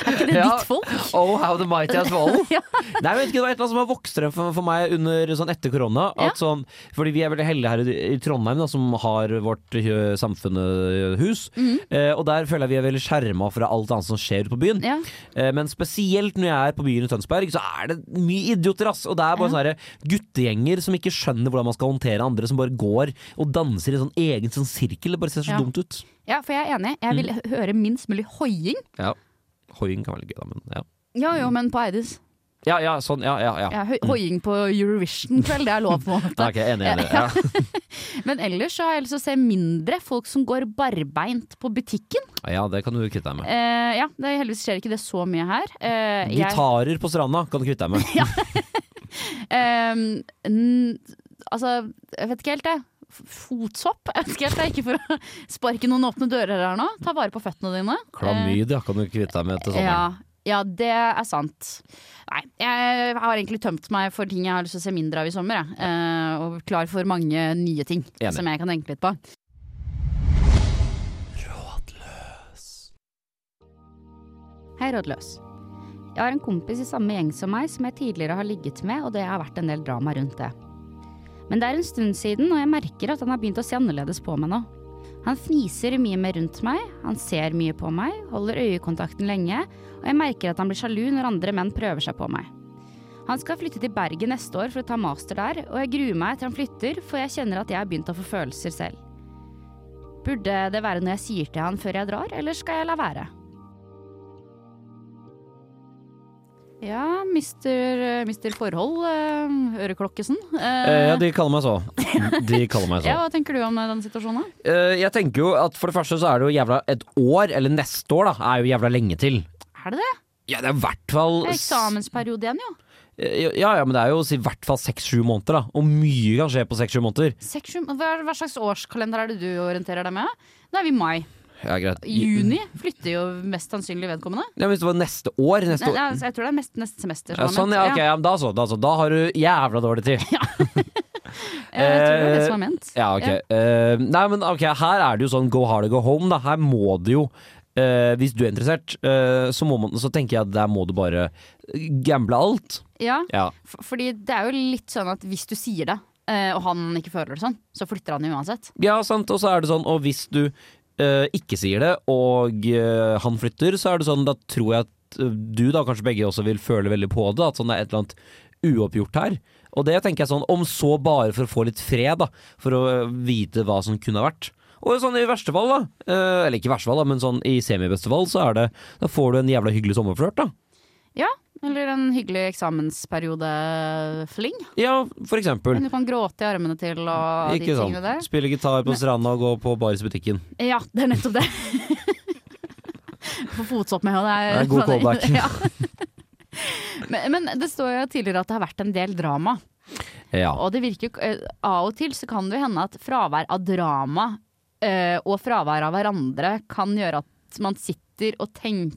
Speaker 3: er ikke det
Speaker 4: Ja.
Speaker 3: ditt folk?
Speaker 4: Oh, how the mighty has fallen!
Speaker 3: Ja.
Speaker 4: Nei, jeg vet ikke, Det var et eller annet som har vokst frem for, for meg under, sånn etter korona. At sånn, fordi vi er veldig heldige her i, i Trondheim, da, som har vårt eh, samfunnehus.
Speaker 3: Mhm.
Speaker 4: Eh, og der føler jeg vi er veldig skjerma fra alt annet som skjer ute på byen.
Speaker 3: Ja.
Speaker 4: Eh, men spesielt når jeg er på byen i Tønsberg, så er det mye idioter, ass! Og det er bare sånne her guttegjenger som ikke skjønner hvordan man skal håndtere andre, som bare går og danser i en sånn egen sånn sirkel. Det bare ser så
Speaker 3: Ja.
Speaker 4: dumt ut.
Speaker 3: ja, for jeg er enig. Jeg vil hø- høre minst mulig hoiing.
Speaker 4: Ja. Hoiing kan være litt gøy, da, men ja.
Speaker 3: Ja jo, men på Eidis.
Speaker 4: Ja, ja, sånn, ja, ja. ja.
Speaker 3: Ja, hø- hoiing på Eurovision-kveld, det er lov på en måte.
Speaker 4: ja ok, enig, enig.
Speaker 3: Ja.
Speaker 4: Ja.
Speaker 3: Men ellers så har jeg lyst til å se mindre folk som går barbeint på butikken.
Speaker 4: Ja, det kan du kvitte deg med.
Speaker 3: Eh, ja, det, heldigvis skjer ikke det så mye her. Eh, jeg-
Speaker 4: Gitarer på stranda kan du kvitte deg med.
Speaker 3: Ehm, n altså, jeg vet ikke helt det. F- Fotsopp? Jeg vet ikke helt det. Ikke for å sparke noen åpne dører her nå. Ta vare på føttene dine.
Speaker 4: Klamydia kan du kvitte deg med til
Speaker 3: Eh,
Speaker 4: sommeren.
Speaker 3: ja, ja, det er sant. Nei, jeg har egentlig tømt meg for ting jeg har lyst til å se mindre av i sommer. Jeg. Eh, og klar for mange nye ting
Speaker 4: Enig.
Speaker 3: som jeg kan tenke litt på.
Speaker 6: Hei, rådløs. Jeg har en kompis i samme gjeng som meg som jeg tidligere har ligget med, og det har vært en del drama rundt det. Men det er en stund siden, og jeg merker at han har begynt å se annerledes på meg nå. Han fniser mye mer rundt meg, han ser mye på meg, holder øyekontakten lenge, og jeg merker at han blir sjalu når andre menn prøver seg på meg. Han skal flytte til Bergen neste år for å ta master der, og jeg gruer meg til han flytter, for jeg kjenner at jeg har begynt å få følelser selv. Burde det være noe jeg sier til han før jeg drar, eller skal jeg la være?
Speaker 3: Ja, mister, mister Forhold, eh, Øreklokkesen.
Speaker 4: Eh,
Speaker 3: Eh,
Speaker 4: Ja, de kaller meg så. De kaller meg så.
Speaker 3: ja, hva tenker du om eh, den situasjonen? da?
Speaker 4: Eh, Jeg tenker jo at for det første så er det jo jævla et år, eller neste år da, er jo jævla lenge til.
Speaker 3: Er det det?
Speaker 4: Ja, det er i hvert fall
Speaker 3: Det er eksamensperiode igjen, jo.
Speaker 4: Eh, Ja, ja, men det er jo si i hvert fall seks-sju måneder, da. Og mye kan skje på seks-sju måneder.
Speaker 3: Seks, sju- hva, hva slags årskalender er det du orienterer deg med? Da er vi i mai.
Speaker 4: Ja, greit.
Speaker 3: Juni flytter jo mest sannsynlig vedkommende.
Speaker 4: Ja, men hvis det var neste år, neste
Speaker 3: Nei,
Speaker 4: år.
Speaker 3: nei, altså, jeg tror det er mest neste semester.
Speaker 4: Ja, sånn, ja, ok, ja, men da så, da så. Da har du jævla dårlig tid.
Speaker 3: Jeg tror det er det som er ment.
Speaker 4: Ja, ok. Eh, nei, men ok, her er det jo sånn go hard or go home, da. Her må du jo eh, hvis du er interessert, eh, så, må man, så tenker jeg at der må du bare gamble alt.
Speaker 3: Ja,
Speaker 4: Ja.
Speaker 3: for, fordi det er jo litt sånn at hvis du sier det, eh, og han ikke føler det sånn, så flytter han jo uansett.
Speaker 4: ja, sant. Og så er det sånn, og hvis du eh, ikke sier det, og eh, han flytter, så er det sånn, da tror jeg at eh, du da, kanskje begge også vil føle veldig på det, at sånn det er et eller annet uoppgjort her. Og det tenker jeg sånn, om så bare for å få litt fred, da. For å eh, vite hva som kunne ha vært. Og sånn i verste fall, da. eh, eller ikke i verste fall, da, men sånn i semibeste fall, så er det Da får du en jævla hyggelig sommerflørt, da.
Speaker 3: Eller en hyggelig eksamensperiode-fling.
Speaker 4: Ja, for eksempel.
Speaker 3: Men du kan gråte i armene til og de
Speaker 4: Ikke
Speaker 3: tingene
Speaker 4: sånn.
Speaker 3: der.
Speaker 4: Spille gitar på stranda og gå på barisbutikken.
Speaker 3: Ja, det er nettopp det. Få fotsopp med, og det er
Speaker 4: Det er god callback.
Speaker 3: Ja. Men, men det står jo tidligere at det har vært en del drama.
Speaker 4: Ja.
Speaker 3: Og det virker jo- eh, Av og til så kan det jo hende at fravær av drama eh, og fravær av hverandre kan gjøre at man sitter og tenker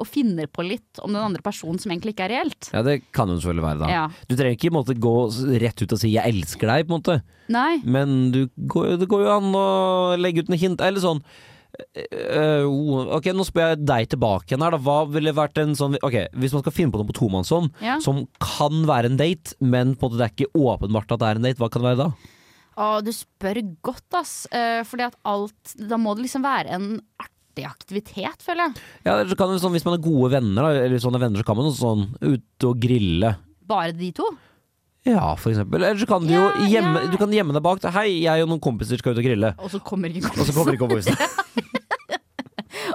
Speaker 3: og finner på litt om den andre personen som egentlig ikke er reelt.
Speaker 4: Ja, det kan jo selvfølgelig være, da.
Speaker 3: Ja.
Speaker 4: Du trenger ikke på en måte, gå s- rett ut og si 'jeg elsker deg', på en måte.
Speaker 3: Nei.
Speaker 4: men du, går- det går jo an å legge ut noen hint. Eller sånn eh, oh, Ok, nå spør jeg deg tilbake igjen her, da. Hva ville vært en sånn Ok, Hvis man skal finne på noe på tomannshånd
Speaker 3: Ja.
Speaker 4: som kan være en date, men på en måte det er ikke åpenbart at det er en date, hva kan det være da?
Speaker 3: Å, du spør godt, ass. Eh, fordi at alt Da må det liksom være en artig aktivitet, føler jeg.
Speaker 4: Ja, eller så kan det, sånn, Hvis man er gode venner, da, eller sånne venner, så kan man også sånn ut og grille.
Speaker 3: Bare de to.
Speaker 4: Ja, for eksempel. Eller så kan du
Speaker 3: Ja,
Speaker 4: jo gjemme,
Speaker 3: ja.
Speaker 4: du kan gjemme deg bak. da, Hei, jeg og noen kompiser skal ut og grille.
Speaker 3: Og så kommer ikke
Speaker 4: Og så
Speaker 3: kompisen.
Speaker 4: kommer ikke kompisen.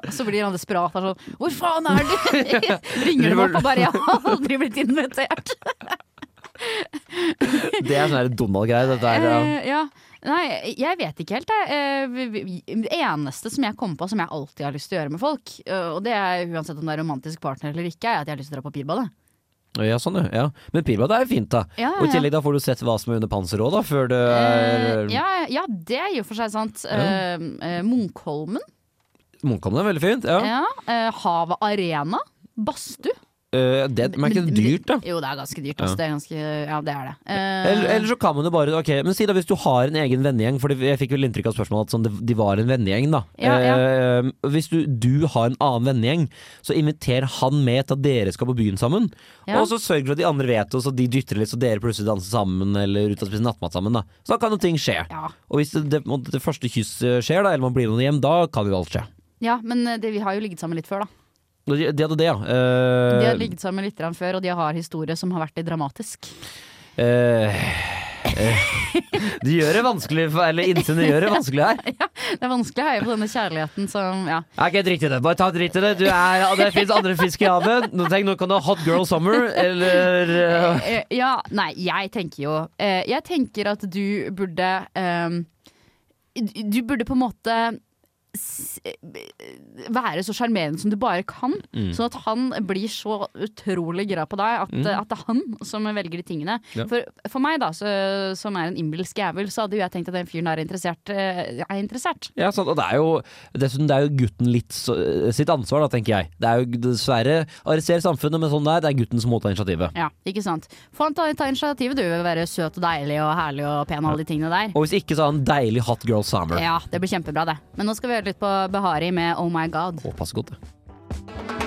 Speaker 3: Og så blir han desperat. Han er sånn Hvor faen er du? Ringer dem opp og bare Jeg har aldri blitt invitert.
Speaker 4: Det er sånn her Donald-greie. Dette er ja.
Speaker 3: Eh, ja. Nei, jeg vet ikke helt, jeg. Eh, vi- vi- Det eneste som jeg kom på som jeg alltid har lyst til å gjøre med folk, eh, og det er uansett om det er romantisk partner eller ikke, er at jeg har lyst til å dra på pirbadet.
Speaker 4: ja, sånn ja. ja. Men pirbad er jo fint, da.
Speaker 3: Ja,
Speaker 4: Og i
Speaker 3: ja.
Speaker 4: tillegg da får du sett hva som er under panseret òg, da, før du
Speaker 3: Eh,
Speaker 4: er
Speaker 3: ja, ja, det er jo for seg sant. Eh, eh, Munkholmen.
Speaker 4: Munkholmen er veldig fint. Ja.
Speaker 3: Ja. eh, Havet Arena. Badstue.
Speaker 4: Eh, det, men er ikke det dyrt, da?
Speaker 3: Jo, det er ganske dyrt. Altså.
Speaker 4: Ja.
Speaker 3: Det er ganske, ja, det er det. Eh,
Speaker 4: Eller, eller så kan man jo bare Ok, men si da hvis du har en egen vennegjeng For det- jeg fikk vel inntrykk av spørsmålet At sånn, det- de var en vennegjeng da
Speaker 3: Ja, ja.
Speaker 4: Eh, Hvis du, du har en annen vennegjeng Så inviter han med til at dere skal på byen sammen
Speaker 3: Ja.
Speaker 4: Og så sørg for at de andre vet det Og så de dytter litt Så dere plutselig danser sammen Eller ut og spiser nattmat sammen da Så da kan jo ting skje
Speaker 3: ja.
Speaker 4: Og hvis det, det, på en måte det første kyss eh, skjer da Eller man blir med hjem Da kan jo alt skje
Speaker 3: ja, men eh, det, vi har jo ligget sammen litt før, da.
Speaker 4: Og De, de hadde det ja Eh,
Speaker 3: De har ligget sammen litt grann før, og de har historie som har vært litt dramatisk.
Speaker 4: eh, eh, De gjør det vanskelig for- Eller innsynet gjør det vanskelig her
Speaker 3: Det er vanskelig å heie på denne kjærligheten som ja.
Speaker 4: Jeg er ikke dritt i det. Bare ta dritt i det. Du er, det fins andre fisk i havet. Nå, tenk, nå kan du ha Hot Girl Summer, eller eh,
Speaker 3: Eh, ja, nei, jeg tenker jo eh, Jeg tenker at du burde eh, Du burde på en måte s- eh, være så sjarmerende som du bare kan,
Speaker 4: Mm.
Speaker 3: sånn at han blir så utrolig gira på deg at, at det er han som velger de tingene.
Speaker 4: Mm. Ja.
Speaker 3: For, for meg, da, så, som er en innbilsk jævel, så hadde jo jeg tenkt at den fyren der er interessert. eh, Er interessert.
Speaker 4: ja, sant, og det er jo Dessuten det er jo gutten litt så- sitt ansvar, da, tenker jeg. Det er jo dessverre Arrester samfunnet, men sånn det er, det er gutten som må ta initiativet.
Speaker 3: Ja, ikke sant. Få han ta, ta initiativet, du. Være søt og deilig og herlig og pen og alle de tingene der.
Speaker 4: Og hvis ikke, så har han deilig Hot Girl Summer.
Speaker 3: Ja, det blir kjempebra det. Men nå skal vi høre litt på Behari med Oh My God.
Speaker 4: Å, passe godt, det.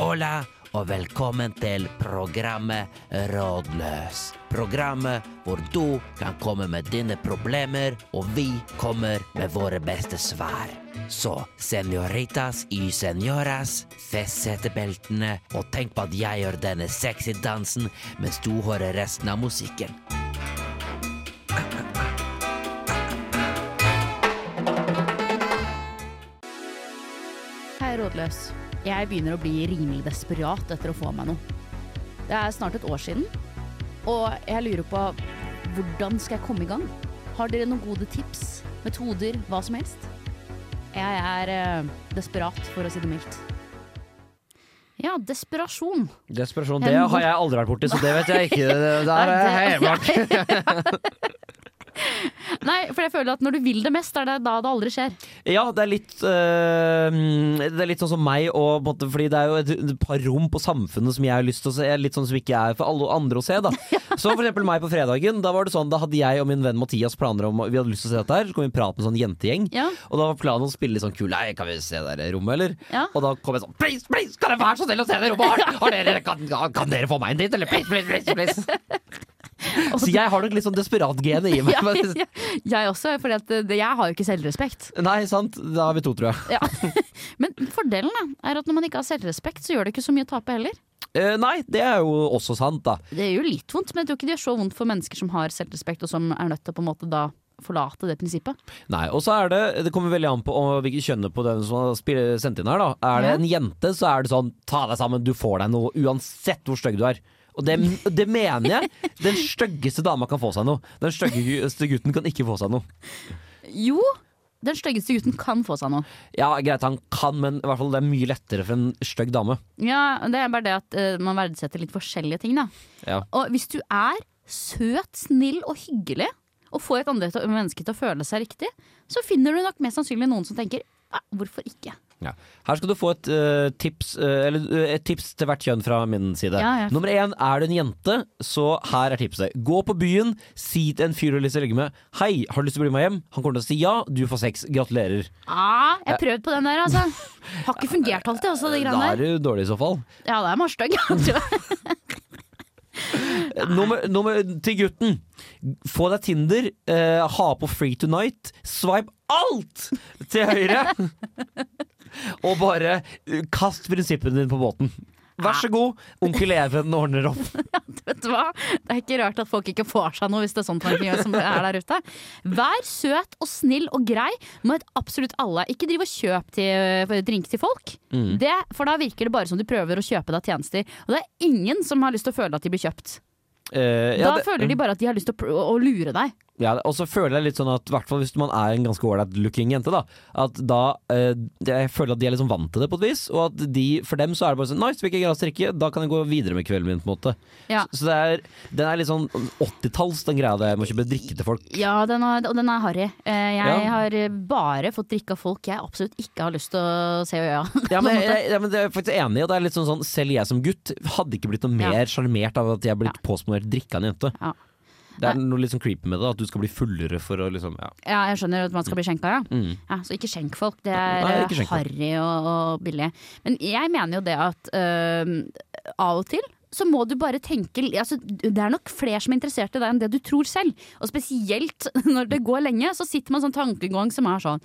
Speaker 7: Hola og velkommen til programmet eh, Rådløs. Programmet hvor du kan komme med dine problemer, og vi kommer med våre beste svar. Så senoritas y senoras, fest setebeltene, og tenk på at jeg gjør denne sexy dansen mens du hører resten av musikken.
Speaker 3: Hei, rådløs. Jeg begynner å bli rimelig desperat etter å få meg noe. Det er snart et år siden, og jeg lurer på hvordan skal jeg komme i gang? Har dere noen gode tips, metoder, hva som helst? Jeg er eh, desperat, for å si det mildt. Ja, desperasjon.
Speaker 4: Desperasjon. Det har jeg aldri vært borti, så det eh, vet jeg ikke. Det der er jeg hjemmevakt.
Speaker 3: Nei, for jeg føler at når du vil det mest, er det da det aldri skjer.
Speaker 4: Ja, det er litt øh, Det er litt sånn som meg og, på en måte, Fordi det er jo et, et par rom på samfunnet Som jeg har lyst til å se Litt sånn som ikke er for alle andre å se da Så for eksempel meg på fredagen Da var det sånn Da hadde jeg og min venn Mathias planer om Vi hadde lyst til å se dette her Så kom vi og pratet med en sånn jentegjeng
Speaker 3: Ja.
Speaker 4: Og da var planen å spille litt sånn kul Nei, kan vi se det der rommet eller?
Speaker 3: Ja.
Speaker 4: Og da kom jeg sånn Please, please, kan jeg være så snill å se det rommet? Har, har dere, kan, kan dere få meg en dit? Eller please, please, please, please Så jeg har nok litt sånn desperat gene i meg
Speaker 3: Altså, Ja, ja. Jeg også, for jeg har jo ikke selvrespekt.
Speaker 4: Nei, sant? Da har vi to, tror jeg
Speaker 3: Ja. Men fordelen da, er at når man ikke har selvrespekt, så gjør det ikke så mye å tape heller.
Speaker 4: Eh, nei, det er jo også sant, da.
Speaker 3: Det er jo litt vondt, men jeg tror ikke det gjør så vondt for mennesker som har selvrespekt, og som er nødt til å på en måte da forlate det prinsippet.
Speaker 4: Nei, og så er det Det kommer veldig an på om hvilket kjønn på den som har spil- sendt inn her, da. Er det
Speaker 3: Ja.
Speaker 4: en jente, så er det sånn ta deg sammen, du får deg noe uansett hvor stygg du er. Og det, det mener jeg. Den styggeste dama kan få seg noe. Den styggeste gutten kan ikke få seg noe.
Speaker 3: Jo, den styggeste gutten kan få seg noe.
Speaker 4: Ja, greit, han kan, men i hvert fall det er mye lettere for en stygg dame.
Speaker 3: Ja, Det er bare det at eh, man verdsetter litt forskjellige ting, da.
Speaker 4: Ja.
Speaker 3: Og hvis du er søt, snill og hyggelig, og får et andre til, menneske til å føle seg riktig, så finner du nok mest sannsynlig noen som tenker "Ja, hvorfor ikke?
Speaker 4: Ja. Her skal du få et, eh, tips, eh, eller, eh, et tips til hvert kjønn fra min side.
Speaker 3: Ja, ja.
Speaker 4: Nummer én, er du en jente, så her er tipset. Gå på byen, si til en fyr du har lyst til å ligge med Hei, har du lyst til å bli med hjem? Han kommer til å si ja, du får sex. Gratulerer.
Speaker 3: Ah, jeg prøvde på den der, altså. Har ikke fungert alltid, altså, de
Speaker 4: Eh, Da
Speaker 3: greiene der.
Speaker 4: er du dårlig i så fall.
Speaker 3: Ja, det er morstøgg.
Speaker 4: Eh, Nummer, nummer til gutten. Få deg Tinder, eh, ha på Free Tonight, swipe alt til høyre! Og bare eh, kast prinsippene dine på båten. Vær
Speaker 3: Ah.
Speaker 4: så god, onkel Even ordner opp.
Speaker 3: Vet du hva? Det er ikke rart at folk ikke får seg noe hvis det er sånn tanken gjør som er der ute. Vær søt og snill og grei mot absolutt alle. Ikke driv og kjøp til, eh, drink til folk.
Speaker 4: Mm.
Speaker 3: Det, for da virker det bare som du prøver å kjøpe deg tjenester. Og det er ingen som har lyst til å føle at de blir kjøpt.
Speaker 4: Eh,
Speaker 3: Da
Speaker 4: ja, det-
Speaker 3: føler de bare at de har lyst til å, pr- å lure deg.
Speaker 4: Ja, og så føler jeg litt sånn at hvertfall hvis man er en ganske ålreit looking jente, da At da eh, Jeg føler at de er liksom vant til det på et vis, og at de, for dem så er det bare sånn Nice, fikk jeg gratis drikke, da kan jeg gå videre med kvelden min, på en måte.
Speaker 3: Ja.
Speaker 4: Så, så det er, den er litt sånn 80-talls, den greia der med å kjøpe drikke til folk.
Speaker 3: Ja, den er, og den er harry. Eh, Jeg
Speaker 4: Ja.
Speaker 3: har bare fått drikke av folk jeg absolutt ikke har lyst til å se i øya.
Speaker 4: Ja, men, jeg, ja, men det er jeg faktisk enig i, og det er litt sånn sånn selv jeg som gutt hadde ikke blitt noe
Speaker 3: Ja.
Speaker 4: mer sjarmert av at jeg er blitt påsponert drikke av en jente.
Speaker 3: Ja.
Speaker 4: Det er noe litt sånn creepy med det, da, at du skal bli fullere for å liksom Ja.
Speaker 3: Ja, jeg skjønner at man skal bli skjenka, ja.
Speaker 4: Mm.
Speaker 3: ja. Så ikke skjenk folk. Det er
Speaker 4: Nei,
Speaker 3: eh,
Speaker 4: ikke skjenk folk.
Speaker 3: harry og, og billig. Men jeg mener jo det at øhm, av og til så må du bare tenke altså, Det er nok flere som er interessert i deg enn det du tror selv. Og spesielt når det går lenge, så sitter man sånn tankegang som er sånn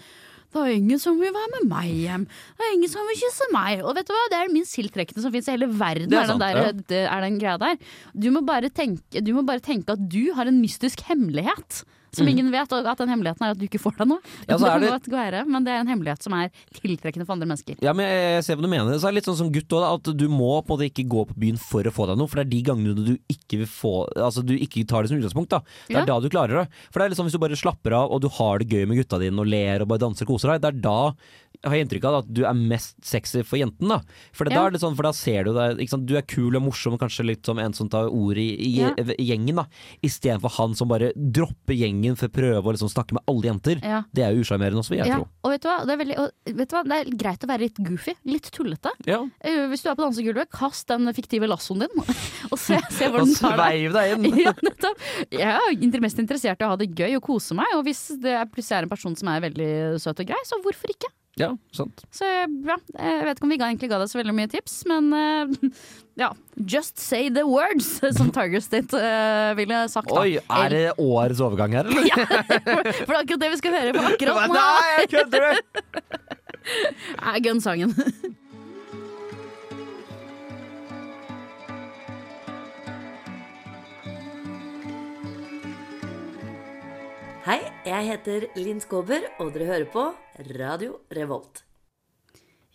Speaker 3: det er ingen som vil være med meg hjem. Det er ingen som vil kysse meg. Og vet du hva, det er den minst tiltrekkende som fins i hele verden.
Speaker 4: Det er
Speaker 3: er, den
Speaker 4: sant,
Speaker 3: der, det er den greia der. Du må, bare tenke, du må bare tenke at du har en mystisk hemmelighet som ingen vet, og at den hemmeligheten er at du ikke får deg noe.
Speaker 4: Mhm. Ja, så er
Speaker 3: det
Speaker 4: det-
Speaker 3: må et gå ære, men det er en hemmelighet som er tiltrekkende for andre mennesker.
Speaker 4: Ja, men jeg, jeg ser hva du mener. Så er det litt sånn som gutt også, da, at du må på en måte ikke gå på byen for å få deg noe, for det er de gangene du ikke vil få Altså du ikke tar det som utgangspunkt, da. Det er
Speaker 3: Ja.
Speaker 4: da du klarer det. For det er liksom hvis du bare slapper av og du har det gøy med gutta dine og ler og bare danser og koser deg, det er da har jeg inntrykk av at du er mest sexy for jenten, da. For, det,
Speaker 3: Ja.
Speaker 4: da, er det sånn, for da ser du deg ikke sant? Du er kul og morsom og kanskje litt som en som tar ordet i, i
Speaker 3: Ja.
Speaker 4: i gjengen, da. Istedenfor han som bare dropper gjengen for å prøve å liksom snakke med alle jenter.
Speaker 3: Ja.
Speaker 4: Det er jo usjarmerende også, vil jeg
Speaker 3: Ja,
Speaker 4: tro.
Speaker 3: og vet, du hva? Det er veldig, og vet du hva, det er greit å være litt goofy, litt tullete.
Speaker 4: Ja.
Speaker 3: Eh, Hvis du er på dansegulvet, kast den fiktive lassoen din, og se, se hvor
Speaker 4: Og
Speaker 3: den tar deg.
Speaker 4: sveiv deg inn.
Speaker 3: Ja, nettopp. Jeg er inter- mest interessert i å ha det gøy og kose meg, og hvis det er plutselig er en person som er veldig søt og grei, så hvorfor ikke?
Speaker 4: Ja, sant.
Speaker 3: Så ja, jeg vet ikke om vi ga, egentlig ga deg så veldig mye tips, men eh, ja. Just say the words, som Tiger State eh, ville sagt. da.
Speaker 4: Oi, er det årets overgang her, eller?
Speaker 3: For det er akkurat det vi skal høre på akkurat nå,
Speaker 4: Nei, jeg kødder!
Speaker 3: er gunsangen.
Speaker 8: Hei, jeg heter Linn Skåber, og dere hører på Radio Revolt.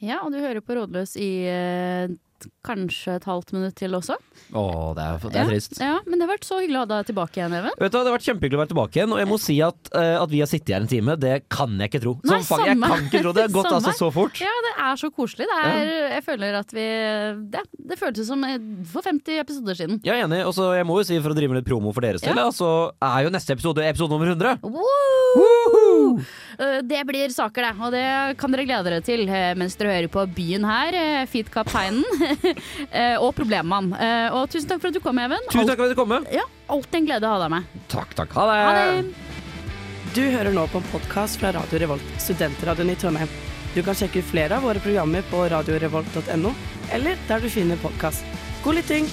Speaker 3: Ja, og du hører på Rådløs i eh, kanskje et halvt minutt til også.
Speaker 4: Å, det er, det er trist.
Speaker 3: Ja, men det har vært så hyggelig å ha deg tilbake igjen, Even.
Speaker 4: Vet du, hva, Det har vært kjempehyggelig å være tilbake igjen, og jeg må si at, eh, at vi har sittet her en time. Det kan jeg ikke tro.
Speaker 3: Nei,
Speaker 4: Som faen, jeg
Speaker 3: samme.
Speaker 4: kan ikke tro det. Det har gått
Speaker 3: Samme.
Speaker 4: altså så fort.
Speaker 3: Ja, det er så koselig. Det er, Jeg føler at vi Det, det føltes som eh, for 50 episoder siden.
Speaker 4: Jeg er enig, og så jeg må jo si for å drive med litt promo for deres del,
Speaker 3: Ja.
Speaker 4: ja. så er jo neste episode episode nummer 100.
Speaker 3: Woo! Eh, Det blir saker, det. Og det kan dere glede dere til eh, mens dere hører på Byen her, eh, Feet-kapteinen eh, og Problemmann. Eh, Og tusen takk for at du kom, Even.
Speaker 4: Tusen takk for at du kom.
Speaker 3: Alt- Ja, alltid en glede å ha deg med.
Speaker 4: Takk, takk. Ha det.
Speaker 3: Ha det!
Speaker 9: Du hører nå på en podkast fra Radio Revolt, studentradioen i Trondheim. Du kan sjekke ut flere av våre programmer på radiorevolt.no, eller der du finner podkast. God lytting!